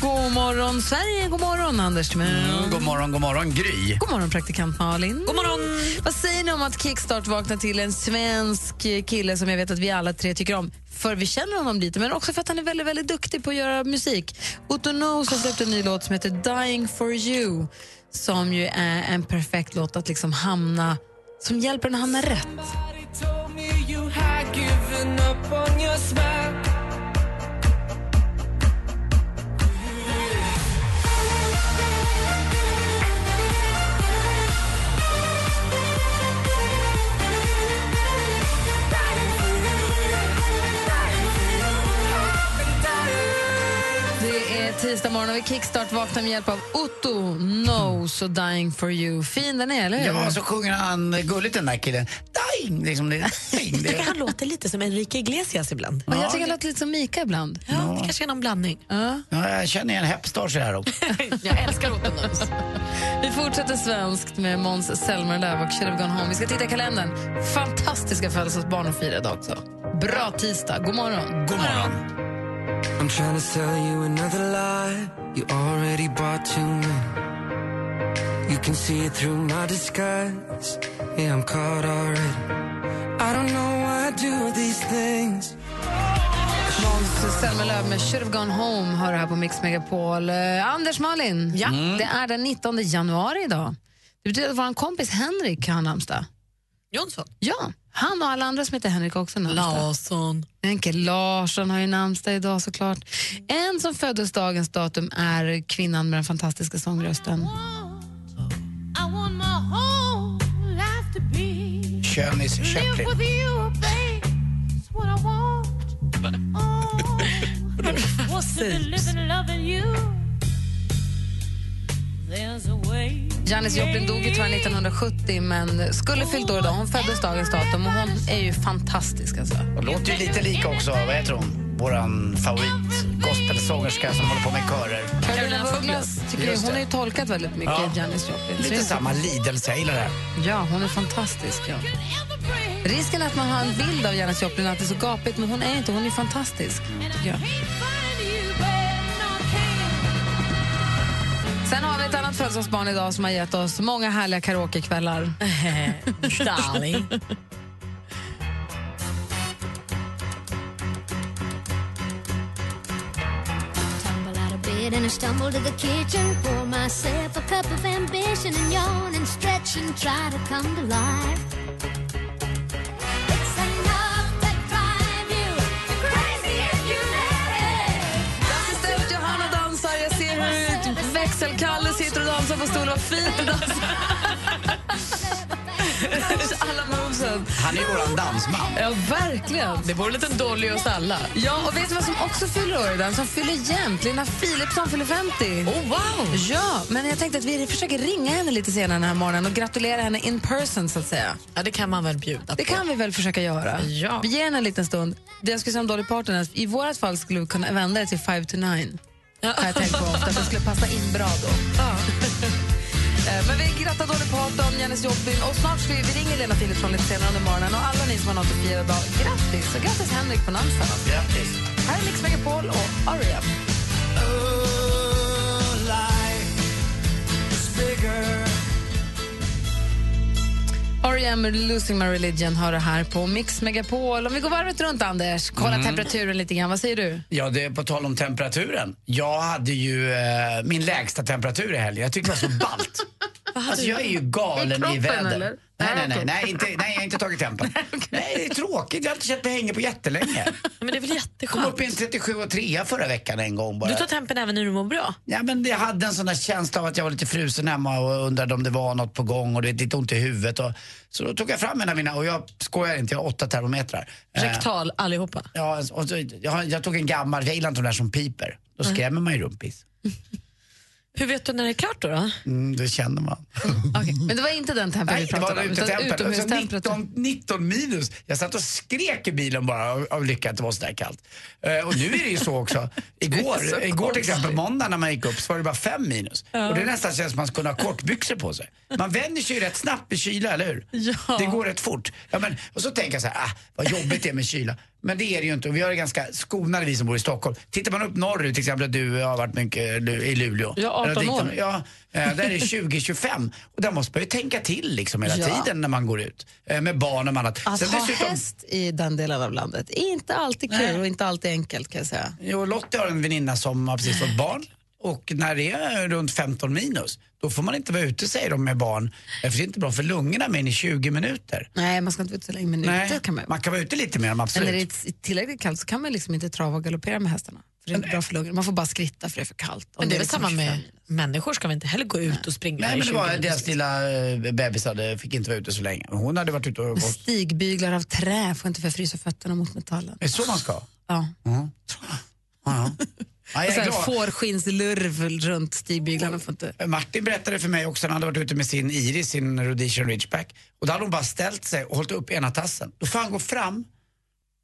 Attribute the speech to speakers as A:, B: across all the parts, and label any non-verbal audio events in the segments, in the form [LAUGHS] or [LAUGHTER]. A: God morgon, Sverige! God morgon, Anders Timell.
B: Mm, God morgon, god morgon, Gry.
A: God morgon, praktikant Malin. God morgon. Vad säger ni om att Kickstart vaknar till en svensk kille som jag vet att vi alla tre tycker om? För vi känner honom lite, men också för att han är väldigt, väldigt duktig på att göra musik. Otto Knows har släppt en ny låt som heter Dying for you som ju är en perfekt låt att liksom hamna, som hjälper en att hamna rätt. Det är tisdag morgon och vi kickstart vaknar med hjälp av Otto Knows och Dying for you. Fin den är, eller hur?
B: Ja, så sjunger han gulligt den där killen. Dying! Liksom det, dying det.
A: [LAUGHS]
C: Han låter lite som Enrique Iglesias ibland.
A: Ja, jag tycker han låter lite som Mika ibland.
C: Ja, det kanske är någon blandning.
B: Ja, jag känner igen Hepstar så här också.
C: Jag älskar Otto Knows.
A: Vi fortsätter svenskt med Måns Zelmerlöw och Should've Gone Home. Vi ska titta i kalendern. Fantastiska födelsedagsbarn att fira idag också. Bra tisdag. God morgon.
B: God morgon.
D: I'm trying to sell you another lie. You already bought too many. You can see it through my disguise. Yeah, I'm caught already. I don't know why I do these things.
A: Måns Zelmerlöw med Should've Gone Home hör här på Mix Megapol. Eh, Anders Malin, ja. det
C: Mm.
A: är den 19 januari idag. Det betyder att vår kompis Henrik har namnsdag.
C: Jonsson.
A: Ja, han och alla andra som heter Henrik har också namnsdag.
C: Larsson.
A: Henke Larsson har ju namnsdag idag såklart. En som föddes dagens datum är kvinnan med den fantastiska sångrösten.
B: Könis Chaplin.
C: [LAUGHS]
A: Janis Joplin dog ju tyvärr 1970 men skulle fyllt år idag. Hon föddes dagens datum och hon är ju fantastisk alltså.
B: Och låter ju lite lik också, vad heter hon? Våran favorit gospelsångerska som håller på med körer.
A: Carolina af Ugglas tycker jag,
B: Just
A: hon har
B: det.
A: ju tolkat väldigt mycket Janis Joplin. Så det är
B: Lite samma lidelse, jag gillar det. här.
A: Ja, hon är fantastisk. Ja. Risken är att man har en bild av Janis Joplin att det är så gapigt, men hon är inte. Hon är fantastisk. Ja. Sen har vi ett annat födelsedagsbarn idag som har gett oss många härliga karaokekvällar.
C: Darling.
E: Tumble out of bed and I stumble to the kitchen. Pour myself a cup of ambition and yawn and stretch and try to come to life. It's enough to drive you crazy if you let it.
A: Stället Johanna dansar, jag ser hur växelkalle sitter och dansar på stolen. Vad fint du dansar! [LAUGHS] Alla movesen.
B: Han är ju våran dansman.
A: Ja, verkligen.
C: Det vore en liten dolly hos alla.
A: Ja, och vet du vad som också fyller år idag? Som fyller jämt? Lena Philipsson fyller 50.
C: Oh, wow!
A: Ja, men jag tänkte att vi försöker ringa henne lite senare den här morgonen och gratulera henne in person så att säga.
C: Ja, det kan man väl bjuda
A: Det
C: på.
A: kan vi väl försöka göra.
C: Ja.
A: Vi ger henne en liten stund. Det jag skulle säga om Dolly Parton är att i vårt fall skulle vi kunna vända det till five to nine. Har jag tänkt på ofta, för det skulle passa in bra då. [LAUGHS] Eh, Men vi grattar Dolly Parton, Janis Joplin och snart ska vi, vi ringer Lena Philipsson lite senare under morgonen och alla ni som har något att fira idag, grattis! Och grattis Henrik på namnsdagen. också.
B: Grattis.
A: Här är Mix Megapol och E Aria. R.E.M. E Losing My Religion har det här på Mix Megapol. Om vi går varvet runt, Anders, kolla
B: Mm.
A: temperaturen lite grann. Vad säger du?
B: Ja, det är på tal om temperaturen. Jag hade ju eh, min lägsta temperatur i helgen. Jag tyckte det
A: [LAUGHS]
B: var så ballt. alltså, jag är
A: I
B: ju galen i,
A: kroppen,
B: väder.
A: eller?
B: Nej,
A: Ja,
B: nej, nej,
A: okej.
B: nej, inte, nej, jag har inte
A: [LAUGHS]
B: tagit tempen. Nej, det är tråkigt. Jag har inte känt mig hängig på jättelänge.
C: Men det är väl
B: Kom
C: jätteskönt?
B: upp i en 37 och 3 förra veckan en gång bara.
C: Du tar tempen även när du mår bra.
B: Ja, men jag hade en sån där känsla av att jag var lite frusen hemma och undrade om det var något på gång och det är lite ont i huvudet. Och, så då tog jag fram en av mina, och jag skojar inte, jag har åtta termometrar. Eh,
C: Rektal allihopa.
B: Ja, och så, jag, har- jag tog en gammal, jag gillar inte de där som piper. Då skrämmer man ju rumpis.
C: Hur vet du när det är klart då? då?
B: Mm, det känner man.
A: [LAUGHS] Okej, Men det var inte den tempen
B: Nej,
A: vi
B: det var
A: pratade om, utan
B: utetemperaturen. Alltså
A: utomhustemperaturen.
B: 19, 19 minus. Jag satt och skrek i bilen bara av, av lycka att det var så där kallt. Eh, och nu är det ju så också. Igår,
A: Det är så
B: igår till
A: konstigt.
B: exempel, måndag när man gick upp så var det bara 5 minus. Och det är nästan känns som att man kunde ha kortbyxor på sig. Man vänjer sig ju rätt snabbt i kyla, eller hur?
C: Ja.
B: Det går rätt fort. Ja, men, och så tänker jag så här, ah, vad jobbigt det är med kyla. Men det är det ju inte och vi har det ganska skonade vi som bor i Stockholm. Tittar man upp norrut till exempel, där du har varit mycket eh, du- i Luleå.
C: Jag är 18
B: Eller dit-
C: år.
B: Ja, eh, där är 2025. Och där måste man ju tänka till liksom hela
A: Ja.
B: tiden när man går ut. eh, Med barn och annat.
A: Att
B: Sen
A: ha
B: dessutom-
A: häst i den delen av landet är inte alltid kul och inte alltid enkelt kan jag säga.
B: Jo, Lottie har en väninna som har precis fått barn. Och när det är runt 15 minus, då får man inte vara ute säger de med barn. Eh, För det är inte bra för lungorna men i 20 minuter.
A: Nej, man ska inte vara ute så länge, men ute kan man ju.
B: man kan vara ute lite mer, men
A: Men
B: absolut.
A: när det är tillräckligt kallt så kan man liksom inte trava och galoppera med hästarna. För det är inte bra för lungorna. Man får bara skritta för det är för kallt. Om
C: Men det är väl
A: liksom
C: samma med
A: 25.
C: människor, ska vi inte heller gå ut och springa
B: Nej,
C: i
B: men det
C: 20
B: var
C: minus?
B: deras lilla eh, bebis hade, fick inte vara ute så länge. Hon hade varit ute
A: [LAUGHS]
B: och gått.
A: Stigbyglar av trä får inte förfrysa fötterna mot metallen.
B: Är det så man ska? Mm.
A: Ja.
B: Ja. Ja,
A: Och
B: jag är
A: sen
B: glad.
A: fårskinnslurvel runt stigbyglarna får inte...
B: Martin berättade för mig också när han hade varit ute med sin Iris, sin Rhodesian Ridgeback. Och då hade hon bara ställt sig och hållit upp ena tassen. Då får han gå fram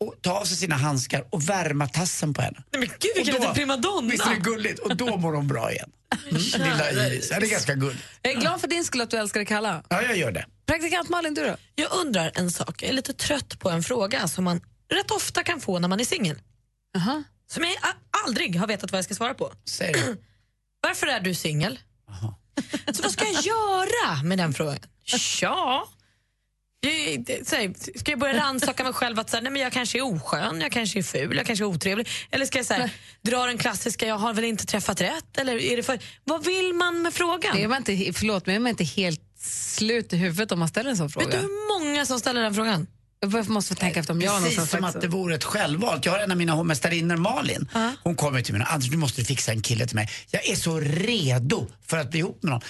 B: och ta av sig sina handskar och värma tassen på henne.
C: Nej, men gud vilken
B: Och då-
C: liten primadonna!
B: Visst är det gulligt? Och då mår hon bra igen. Mm. Lilla Iris. Ja, det är ganska gulligt.
A: Jag är glad för din skull att du älskar det kalla.
B: Ja, jag gör det.
A: Praktikant Malin, du då?
C: Jag undrar en sak, jag är lite trött på en fråga som man rätt ofta kan få när man är singel.
A: Jaha.
C: Som jag a- aldrig har vetat vad jag ska svara på.
B: Säger du.
C: Varför är du singel?
B: Jaha.
C: Så vad ska jag göra med den frågan? Ja. Jag- det- så här, Ska jag börja rannsaka mig själv att så här, nej men jag kanske är oskön, jag kanske är ful, jag kanske är otrevlig? Eller ska jag så här, dra den klassiska, jag har väl inte träffat rätt? Eller är det för, vad vill man med frågan?
A: Är man inte, förlåt, men är man inte helt slut i huvudet om man ställer en sån
C: Vet du
A: fråga?
C: hur många som ställer den frågan?
A: Jag måste tänka efter om jag har någon
B: Precis som
A: sagt
B: att
A: så.
B: det vore ett självvalt. Jag har en av mina mästarinnor Malin. Hon kommer till mig och Anders du måste fixa en kille till mig. Jag är så redo för att bli ihop med någon.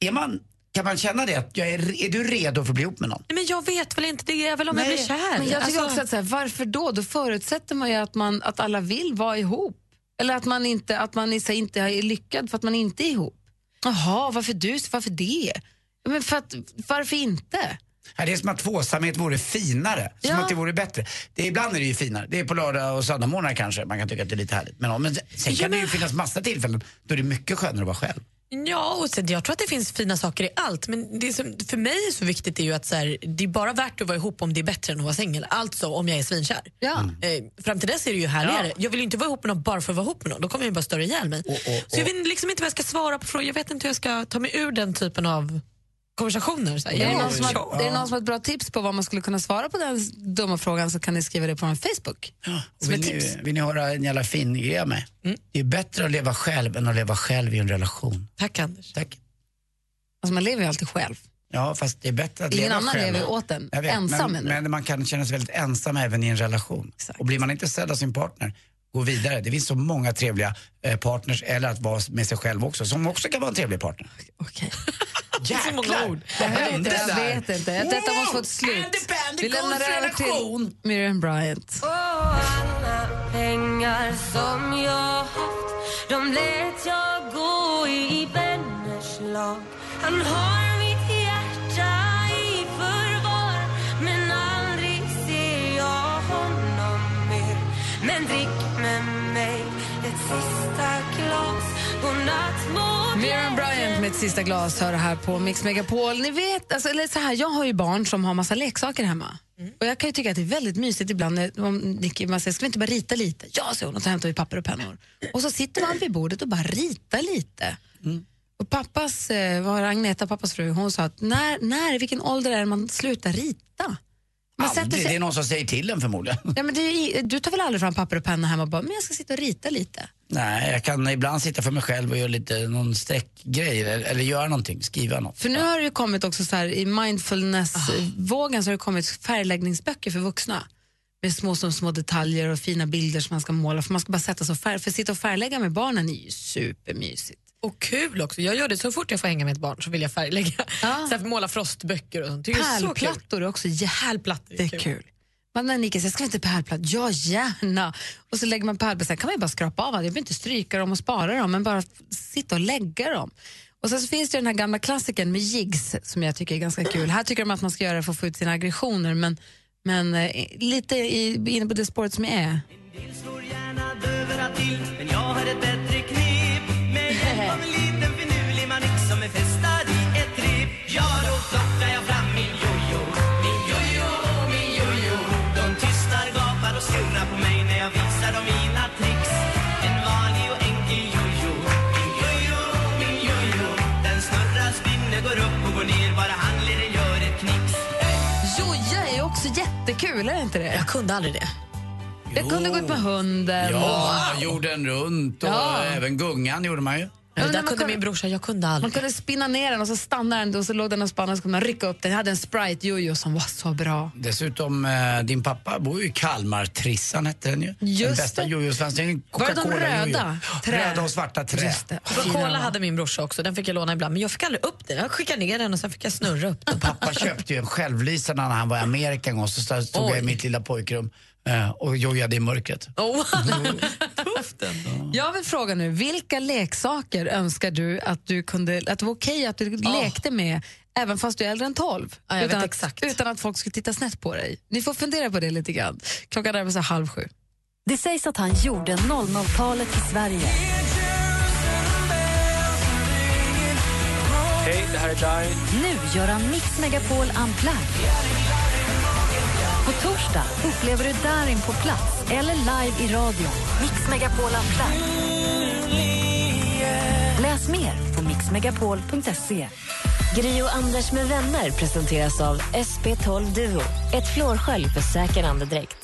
B: Är man, kan man känna det? Att jag är, är du redo för att bli ihop med någon?
C: Nej, men jag vet väl inte, det är väl om
B: Nej,
C: jag blir kär.
A: Men jag tycker
C: Alltså-
A: också att så här, varför då? Då förutsätter man ju att, man, att alla vill vara ihop. Eller att man inte, att man i sig inte är lyckad för att man inte är ihop. Jaha, varför du? Varför det? Ja, Men för att, varför inte?
B: Ja, Det är som att tvåsamhet vore finare, som
A: Ja.
B: att det vore bättre. Det, ibland är det ju finare, det är på lördag och söndagmorgnar kanske, man kan tycka att det är lite härligt. Men, ja, men sen kan
C: Ja,
B: det ju
C: men-
B: finnas massa tillfällen då det är mycket skönare att vara själv.
C: Ja, och sen, jag tror att det finns fina saker i allt. Men det som för mig är så viktigt är ju att så här, det är bara värt att vara ihop om det är bättre än att vara singel. Alltså om jag är svinkär.
A: Ja.
C: Eh, fram till dess är det ju härligare. Jag vill ju inte vara ihop med någon bara för att vara ihop med någon. Då kommer jag ju bara störa ihjäl mig. Så jag vet liksom inte vad jag ska svara på frågan. Jag vet inte hur jag ska ta mig ur den typen av konversationer. Så här,
A: Är,
C: jag
A: det
C: är
A: någon som
C: tjock.
A: har, är det någon som har ett bra tips på vad man skulle kunna svara på den dumma frågan så kan ni skriva det på vår Facebook.
B: Och
A: Som ett
B: Vill
A: tips. Mm.
B: ni, vill ni höra en jävla fin grej av mig? Det är bättre att leva själv än att leva själv i en relation.
C: Tack Anders.
B: Tack.
A: Alltså man lever ju alltid själv.
B: Ja, fast det är bättre att
A: Ingen
B: leva
A: annan
B: själv.
A: lever åt en.
B: Jag vet,
A: Ensam
B: men,
A: menar du?
B: men man kan känna sig väldigt ensam även i en relation. Och blir man inte sedd av sin partner, gå vidare. Det finns så många trevliga eh, partners, eller att vara med sig själv också, som också kan vara en trevlig partner.
A: [LAUGHS] Okej.
C: så många ord.
B: Vad
A: Jag vet,
B: hände
A: inte, jag
B: där?
A: vet inte. Detta måste få ett slut. Vi lämnar över till Miriam Bryant.
F: pengar som jag haft De lät jag gå i vänners lag Han har mitt hjärta i förvar Men aldrig ser jag honom mer Men drick med mig ett sista glas Godnatt må
A: Miriam Bryant med ett sista glas hör här på Mix Megapol. Ni vet, alltså, eller så här, jag har ju barn som har massa leksaker hemma.
B: Mm.
A: Och Jag kan ju tycka att det är väldigt mysigt ibland när om Nicky, man säger, ska vi inte bara rita lite? Ja, säger hon och så hämtar vi papper och pennor. Och så sitter man vid bordet och bara ritar lite.
B: Mm.
A: Och pappas, eh, vad var det, Agneta, pappas fru, hon sa att när, när, i vilken ålder är det man slutar rita? Man sätter
B: Aldrig,
A: sig-
B: det är någon som säger till en förmodligen. [LAUGHS]
A: Ja, men det är, ju- du tar väl aldrig fram papper och penna hemma och bara, men jag ska sitta och rita lite?
B: Nej, jag kan ibland sitta för mig själv och göra lite någon streckgrej eller, eller göra någonting, skriva något.
A: För nu har det ju kommit också så här, i mindfulness-vågen så har det kommit färgläggningsböcker för vuxna. Med små som små detaljer och fina bilder som man ska måla för man ska bara sätta sig och färg. För att sitta och färglägga med barnen är ju supermysigt.
C: Och kul också. Jag gör det så fort jag får hänga med ett barn så vill jag färglägga.
A: Ja.
C: Så här, måla frostböcker och sånt. Det är ju så kul.
A: Pärlplattor är också jättekul.
C: Pärlplattor är kul.
A: Man när Nika säger, ska vi inte pärlplatt? Ja, gärna. Och så lägger man pärlplatt, sen kan man ju bara skrapa av dem. Jag behöver inte stryka dem och spara dem, men bara sitta och lägga dem. Och sen så finns det ju den här gamla klassiken med jigs som jag tycker är ganska kul. Här tycker de att man ska göra det för att få ut sina aggressioner, men, men eh, lite i, inne på det spåret som jag är.
G: dövra till Men jag har ett bättre knep Med hjälp av en liten finurlig manick som är fästad i ett rep Ja, då plockar jag fram min jojo Min jojo och min jojo De tystar, gapar och skornar på mig när jag visar dem mina tricks En vanlig och enkel jojo Min jojo, min jojo Den snurrar, spinner, går upp och går ner Bara handleden gör ett knix
A: Joja är också jättekul, är det inte det? Jag kunde aldrig det. Jag kunde gå ut med hunden.
B: Ja,
A: och-
B: jorden runt och
A: Ja.
B: även gungan gjorde man ju.
A: Ja, men
C: där
A: när man
C: kunde min brorsa, jag kunde
A: Man
C: aldrig.
A: kunde spinna ner den och så stannade den och så låg den och spannade och så kunde man rycka upp den. Jag hade en Sprite jojo som var så bra.
B: Dessutom, eh, din pappa bor ju i Kalmar. Trissan hette den ju. den
A: Just
B: bästa
A: det.
B: jojo-svensken.
C: Var det de röda?
B: Trä.
C: Trä.
B: Röda och svarta trä.
C: Just det. Coca-Cola hade min brorsa också, den fick jag låna ibland. Men jag fick aldrig upp den. Jag skickade ner den och sen fick jag snurra upp [LAUGHS] den.
B: Pappa köpte ju en självlysande när han var i Amerika en gång. Så stod stod jag i mitt lilla pojkrum eh, och jojade i mörkret.
C: [LAUGHS]
A: Jag vill fråga nu, vilka leksaker önskar du att du kunde, att det var okej att du lekte med även fast du är äldre än 12?
C: Ja, jag vet
A: utan,
C: exakt.
A: Att, utan att folk skulle titta snett på dig. Ni får fundera på det lite grann. Klockan närmar sig halv sju.
H: Det sägs att han gjorde 00-talet i Sverige.
I: Hej, det här är Darin.
H: Nu gör han Mix Megapol Unplugged. På torsdag upplever du Darin på plats eller live i radio. Mix Megapol Unplugged. Läs mer på mixmegapol.se.
J: Gri och Anders med vänner presenteras av SP12 Duo. Ett flårskölj för säker andedräkt.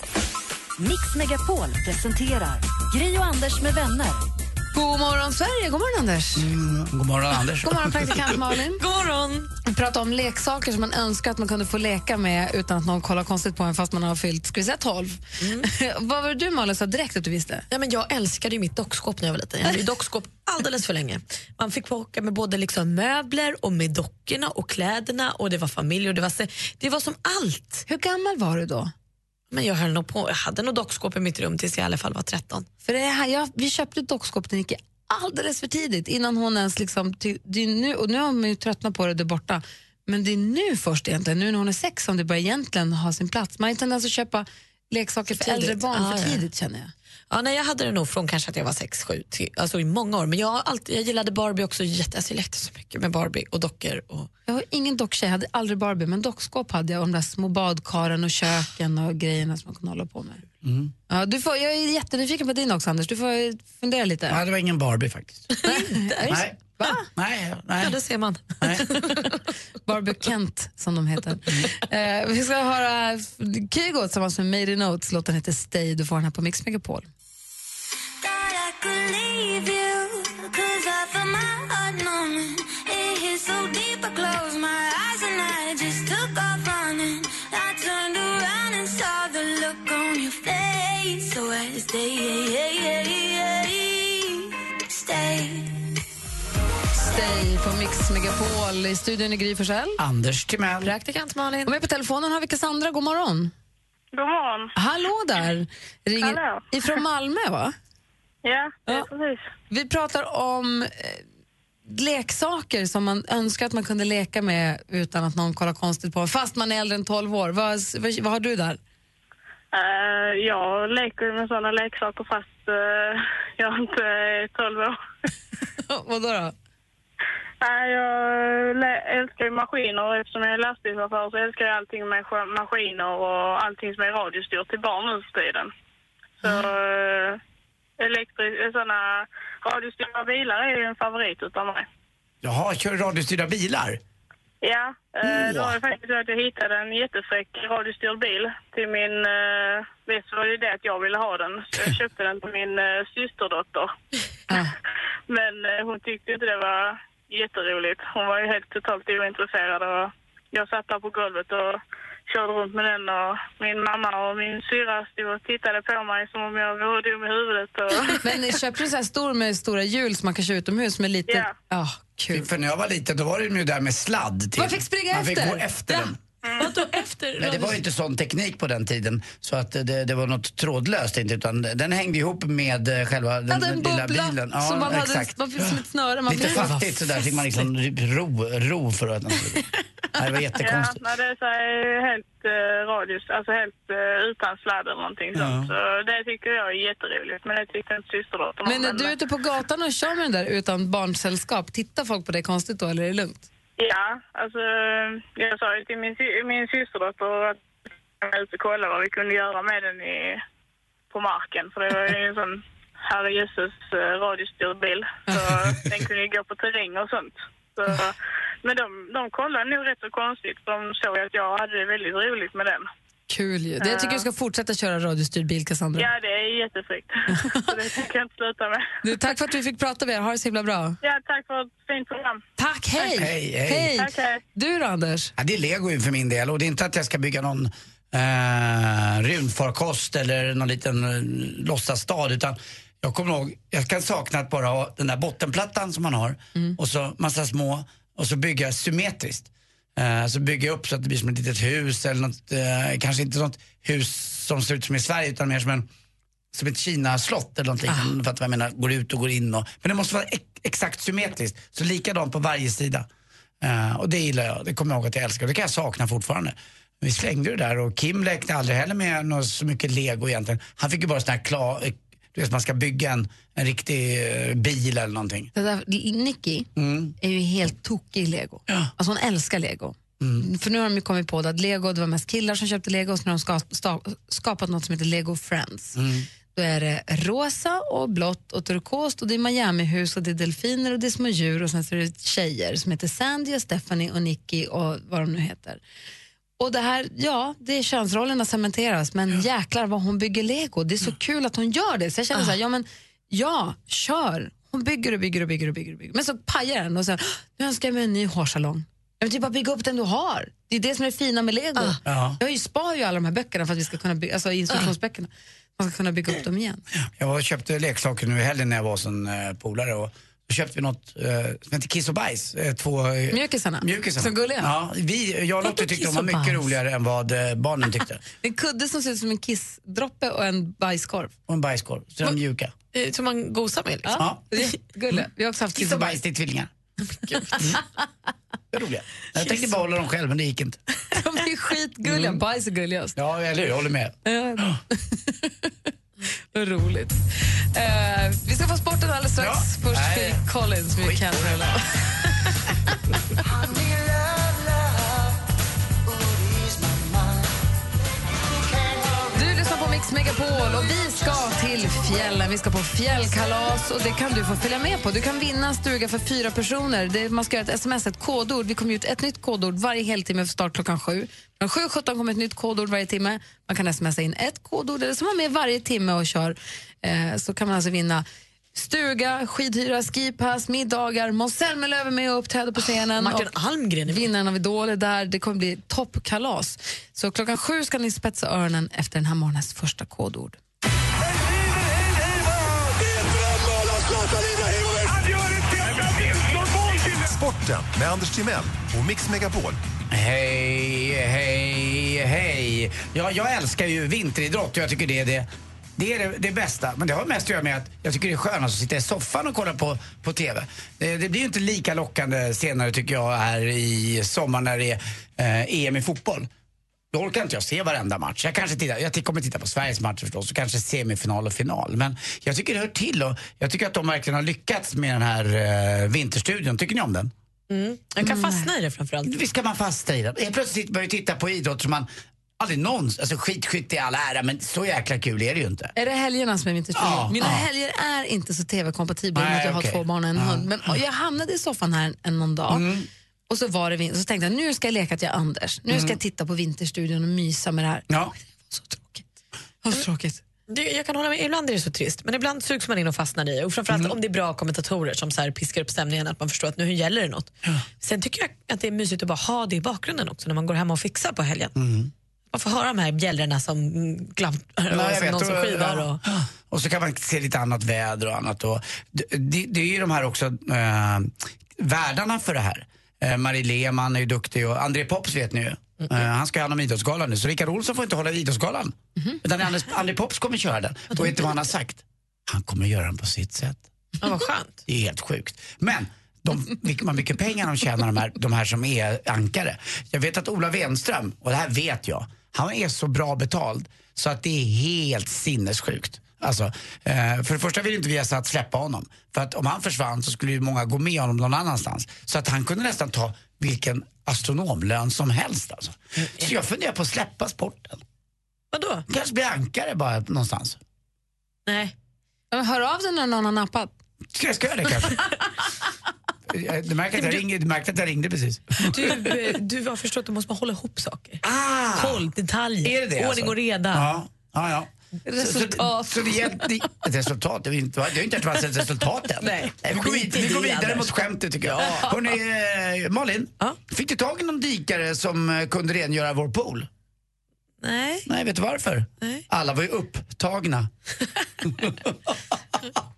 H: Mix Megapol presenterar Gri och Anders med vänner.
A: God morgon Sverige, god morgon Anders.
B: Mm, God morgon, Anders.
A: God morgon praktikant Malin.
C: god morgon.
A: Vi pratar om leksaker som man önskar att man kunde få leka med utan att någon kollar konstigt på en fast man har fyllt, ska vi säga 12?
C: Mm.
A: [LAUGHS] Vad var det du Malin sa direkt att du visste?
C: Ja, men jag älskade ju mitt dockskåp när jag var liten. Jag hade ju dockskåp alldeles för länge. Man fick plocka med både liksom möbler och med dockorna och kläderna och det var familj och det var, se- det var som allt.
A: Hur gammal var du då?
C: Men jag, höll nog på, jag hade nog dockskåp i mitt rum tills jag i alla fall var 13.
A: För det här, jag, vi köpte ett dockskåp till Nicky alldeles för tidigt innan hon ens liksom, ty, det är nu, och nu har man ju tröttnat på det där borta, men det är nu först egentligen, nu när hon är sex som det börjar egentligen ha sin plats. Man har ju tendens att köpa leksaker för,
C: tidigt.
A: äldre barn
C: Ah,
A: för
C: ja.
A: tidigt känner jag.
C: Ja, nej, jag hade det nog från kanske att jag var 6-7, alltså i många år. Men jag, har alltid, jag gillade Barbie också jätte, alltså jag lekte så mycket med Barbie och dockor. Och,
A: Jag var ingen docktjej, jag hade aldrig Barbie, men dockskåp hade jag och de där små badkaren och köken och grejerna som man kunde hålla på med. Ja, du får, jag är jättenyfiken på din också Anders, du får eh, fundera lite.
B: Nej, det var ingen
C: [LAUGHS]
B: Barbie faktiskt. Nej.
A: Va?
B: Nej, nej.
C: Ja, det ser man.
A: Barbie Kent, som de heter. Eh, vi ska höra Kygo tillsammans med Made in Notes. Låten heter Stay. Du får den här på Mix Megapol. Stay på Mix Megapol. I studion är Gry Forssell.
B: Anders Timell.
A: Praktikant Malin. Och med på telefonen har vi Cassandra. God morgon.
K: God morgon.
A: Hallå där. Ringer
K: Hallå.
A: ifrån Malmö, va?
K: [LAUGHS] Ja, det är precis.
A: Vi pratar om eh, leksaker som man önskar att man kunde leka med utan att någon kollar konstigt på en, fast man är äldre än 12 år. Vad, vad, vad har du där? [LAUGHS]
K: Eh, jag leker ju med sådana leksaker fast eh, jag inte är 12 år.
A: Vadå då?
K: Nej, jag le- älskar ju maskiner eftersom jag är lastbilschaufför så älskar jag allting med sk- maskiner och allting som är radiostyrt till barn nu för tiden. Så mm. elektri- sådana radiostyrda bilar är ju en favorit utav mig.
B: Jaha, kör du radiostyrda bilar?
K: Ja, eh, det
B: Åh.
K: var ju faktiskt så att jag hittade en jättefräck radiostyrd bil till min... Eh, visst var det det att jag ville ha den, så jag köpte den till min eh, systerdotter. [LAUGHS] Men eh, hon tyckte inte det var jätteroligt. Hon var ju helt totalt ointresserad och jag satt där på golvet och körde runt med den och min mamma och min syrra stod och tittade på mig som om jag vore dum i huvudet. Och...
A: Men köper du så här stor med stora hjul som man kan köra utomhus med lite...
K: Ja.
A: Ja, kul.
B: För när jag var liten då var det ju där med sladd till.
A: Man fick springa
B: Man fick
A: efter.
B: gå efter den.
C: Vadå efter?
B: Nej, det var ju inte sån teknik på den tiden så att eh, det, det var något trådlöst inte utan den hängde ihop med eh, själva den,
A: hade en
B: den lilla
A: bubbla
B: bilen.
A: som man hade,
B: exakt.
A: man fick som ett snöre. Man
B: Lite
A: fick-
B: fattigt sådär fick man liksom ro, ro för
A: [LAUGHS]
B: att den skulle gå. Nej, Det var
K: Ja,
B: jättekonstigt.
K: när det är så här helt eh, radius, alltså helt eh, utan sladd eller någonting
B: Ja.
K: sånt. Så det tycker jag är jätteroligt, men det tyckte inte systerdottern om,
A: Men när du är ute på gatan och kör med den där utan barnsällskap, tittar folk på dig konstigt då eller är det lugnt?
K: Ja, alltså jag sa ju till min, sy- min systerdotter att jag var ute och kollade vad vi kunde göra med den i, på marken. För det var ju en sån herrejösses eh, radiostyrd bil. Så den kunde ju gå på terräng och sånt. Så, men de, de kollade nog rätt så konstigt. för De såg att jag hade det väldigt roligt med den.
A: [LAUGHS] Kul ju. Det jag tycker du ska fortsätta köra radiostyrd bil, Cassandra.
K: Ja, det är jättefräckt. Så det tänker jag inte sluta med.
A: Du, tack för att vi fick prata med er. Ha det så himla bra.
K: Ja, tack för ett fint program.
A: Tack, hej!
B: Hej, hej. Tack,
A: Du då, Anders?
B: Ja, det är lego ju för min del och det är inte att jag ska bygga någon eh, rymdfarkost eller någon liten eh, låtsasstad utan jag kommer ihåg, jag kan sakna att bara ha den där bottenplattan som man har och så massa små och så bygga symmetriskt. Eh, så bygga upp så att det blir som ett litet hus eller något, eh, kanske inte något hus som ser ut som i Sverige utan mer som en som ett Kina-slott eller någonting. För att jag menar, går ut och går in och, Men det måste vara ex exakt symmetriskt. Så likadant på varje sida. Eh, och det gillar jag. Det kommer jag ihåg att jag älskar. Det kan jag sakna fortfarande. Vi slängde det där och Kim lekte aldrig heller med något, så mycket lego egentligen. Han fick ju bara sån här klar... eh, Du vet, man ska bygga en, en riktig eh, bil eller någonting.
A: Det där, Nicky är ju helt tokig i lego. Alltså hon älskar lego. För nu har de ju kommit på det att lego, det var mest killar som köpte lego och så nu har de ska, sta, skapat något som heter Lego Friends. Då är det rosa och blått och turkost och det är Miamihus och det är delfiner och det är små djur och sen så är det tjejer som heter Sandy och Stephanie och Nicky och vad de nu heter. Och det här, ja, det är könsrollerna cementeras men jäklar vad hon bygger lego. Det är så kul att hon gör det. Så jag känner
B: Ah.
A: så här, ja men ja, kör. Hon bygger och bygger och bygger och bygger. Och bygger. Men så pajar den och så här, nu önskar jag mig en ny hårsalong. Jag vill bara bygga upp den du har. Det är det som är det fina med lego.
B: Ja.
A: Jag har ju spar ju alla de här böckerna för att vi ska kunna bygga, alltså instruktionsböckerna. Man ska kunna bygga upp dem igen.
B: Jag var och köpte leksaker nu i helgen när jag var som eh, polare. Och då köpte vi något eh, som heter Kiss och bajs. Eh, två, eh,
A: Mjukisarna.
B: Mjukisarna.
A: Så gulliga.
B: Ja, vi, jag och Lottie tyckte de
A: [LAUGHS]
B: var
A: Kiss och
B: mycket
A: bajs?
B: roligare än vad eh, barnen tyckte.
A: En kudde som ser ut som en kissdroppe och en bajskorv.
B: Och en bajskorv, så de är mjuka.
A: Eh, Som man gosar med. Liksom.
B: Ja.
A: Gulle. Vi har också haft
B: Kiss och bajs, det
A: [LAUGHS]
B: är tvillingar. Mm. Det är roliga. Jag tänkte bara hålla dem själv, men det gick inte.
A: [LAUGHS] De är skitgulliga.
B: Mm.
A: Bajs är gulligast.
B: Ja, eller hur? Jag håller med.
A: Ja. Eh. [LAUGHS] Vad roligt. Eh, vi ska få sporten alldeles strax. Först
B: Nej.
A: Phil Collins med Can't Relate. Du lyssnar på Mix Megapol och vi ska till fjällen. Vi ska på fjällkalas och det kan du få följa med på. Du kan vinna en stuga för fyra personer. Det, man ska göra ett sms, ett kodord. Vi kommer ut ett nytt kodord varje heltimme för start klockan sju. Från 7.17 kommer ett nytt kodord varje timme. Man kan smsa in ett kodord eller så är man med varje timme och kör. Eh, så kan man alltså vinna stuga, skidhyra, skipass, middagar. Måns Zelmerlöw är med och uppträder på scenen.
C: Martin
A: och Almgren Vinnaren av Idol är där. Det kommer bli toppkalas. Så klockan sju ska ni spetsa öronen efter den här morgonens första kodord.
I: Sporten med Anders Timell och Mix Megapol.
B: Hej, hej, hej. Ja, jag älskar ju vinteridrott och jag tycker det är det, det, är det, det bästa. Men det har mest att göra med att jag tycker det är skönast att sitta i soffan och kolla på, på TV. Det, det blir ju inte lika lockande senare tycker jag här i sommar när det är eh, EM i fotboll. Då orkar inte jag se varenda match. Jag, kanske tittar, jag t- kommer titta på Sveriges match förstås och kanske semifinal och final. Men jag tycker det hör till och jag tycker att de verkligen har lyckats med den här eh, vinterstudion. Tycker ni om den?
C: Mm. Jag kan fastna i det framförallt.
B: Visst kan man fastna i det. Helt plötsligt börjar vi titta på idrott som man aldrig någonsin... Alltså skidskytte i all ära, men så jäkla kul är det ju inte.
A: Är det helgerna som är vinterstudion?
B: Ja,
A: Mina
B: ja.
A: helger är inte så tv-kompatibla med
B: Nej,
A: att jag
B: okej.
A: har två barn och en
B: Ja. Mm.
A: hund. Men och jag hamnade i soffan här en, en någon dag och så var det vinter. Så tänkte jag, nu ska jag leka att jag är Anders. Nu ska
C: Mm.
A: jag titta på vinterstudion och mysa med det här.
B: Ja.
A: Vad så tråkigt.
C: Mm. Det, jag kan hålla med, ibland är det så trist, men ibland sugs man in och fastnar i det. Och framförallt
B: Mm.
C: om det är bra kommentatorer som så här piskar upp stämningen, att man förstår att nu gäller det något. Sen tycker jag att det är mysigt att bara ha det i bakgrunden också när man går hem och fixar på helgen. Man får höra de här bjällrorna som mm, glampar
B: Mm. Nej, jag
C: och som
B: vet.
C: någon som
B: Och-
C: skivar.
B: ja.
C: Och...
B: Och så kan man se lite annat väder och annat. Och det, det, det är ju de här också eh, värdarna för det här. Eh, Marie Lehmann är ju duktig och André Pops vet ni ju. Eh, han ska ju ha hand om Idrottsgalan nu, så Rickard Olsson får inte hålla i Idrottsgalan.
C: Mm-hmm.
B: Utan Anders, Andy Pops kommer köra den. Och vet du vad han har sagt? Han kommer göra den på sitt sätt.
C: Ja, vad skönt.
B: Det är helt sjukt. Men de, vilka- vad mycket pengar de tjänar de här, de här som är ankare. Jag vet att Ola Wenström, och det här vet jag, han är så bra betald så att det är helt sinnessjukt. Alltså, eh, för det första vill inte Viasat släppa honom. För att om han försvann så skulle ju många gå med honom någon annanstans. Så att han kunde nästan ta vilken astronomlön som helst. Alltså. Så jag funderar på att släppa sporten.
C: Vadå?
B: Kanske bli ankare bara någonstans.
C: Nej.
A: Ja, men hör av dig när någon har nappat.
B: Ska jag ska göra det kanske? Eh, Du märkte att jag ringde, du märkte att jag ringde precis.
C: Du, eh, du har förstått att du måste man hålla ihop saker.
B: Ah.
C: Koll, detaljer,
B: Är det det alltså?
C: ordning och reda.
B: Ja, ja. ja.
C: Resultat.
B: Så, så, så det, är- det, resultat? Det har inte, det har inte ens varit ett resultat än.
C: Nej.
B: vi går
C: Skit i
B: vidare, vi
C: det,
B: går vidare
C: Anders.
B: mot skämtet tycker jag.
C: Ja.
B: Hörrni, eh, Malin, fick du tag i någon dikare som eh, kunde rengöra vår pool?
C: Nej.
B: Nej, vet du varför? Alla var ju upptagna.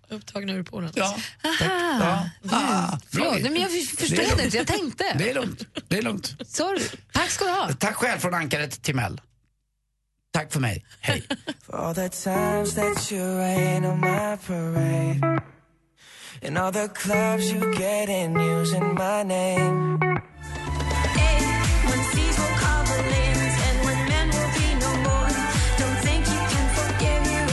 C: Upptagna ur poolen.
B: Ja.
A: Aha.
B: Ah,
A: Förlåt,
B: Roger.
A: nej, men jag f- förstod
B: Det är lugnt.
A: inte, jag tänkte.
B: Det är lugnt. Det är lugnt.
A: Sorry. Tack ska du ha.
B: Tack själv från ankaret Timell. Tack för mig. Hej.
D: All the times that you rain on my parade, and all the clubs you get in using my name.
F: When seas will cover lands and when men will be no more, don't think you can forgive you.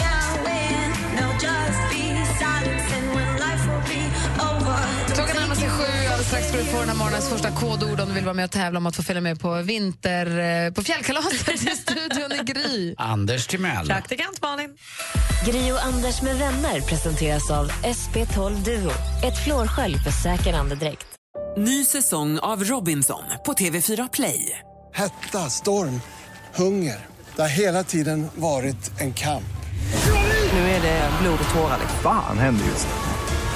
F: Yeah, when there'll just be silence and when life will be over.
A: Klockan närmar sig sju. Alldeles strax ska du få den här morgonens första kodord om du vill vara med och tävla om att få följa med på vinter... eh, på fjällkalaset i studion i Gry.
B: Anders Timell.
C: Praktikant Malin.
J: Gri och Anders med vänner presenteras av SP12 Duo. Ett flårskölj för säker andedräkt.
L: Ny säsong av Robinson på TV4 Play.
M: Hetta, storm, hunger. Det har hela tiden varit en kamp.
L: Nu är det blod och tårar.
N: Fan händer just det.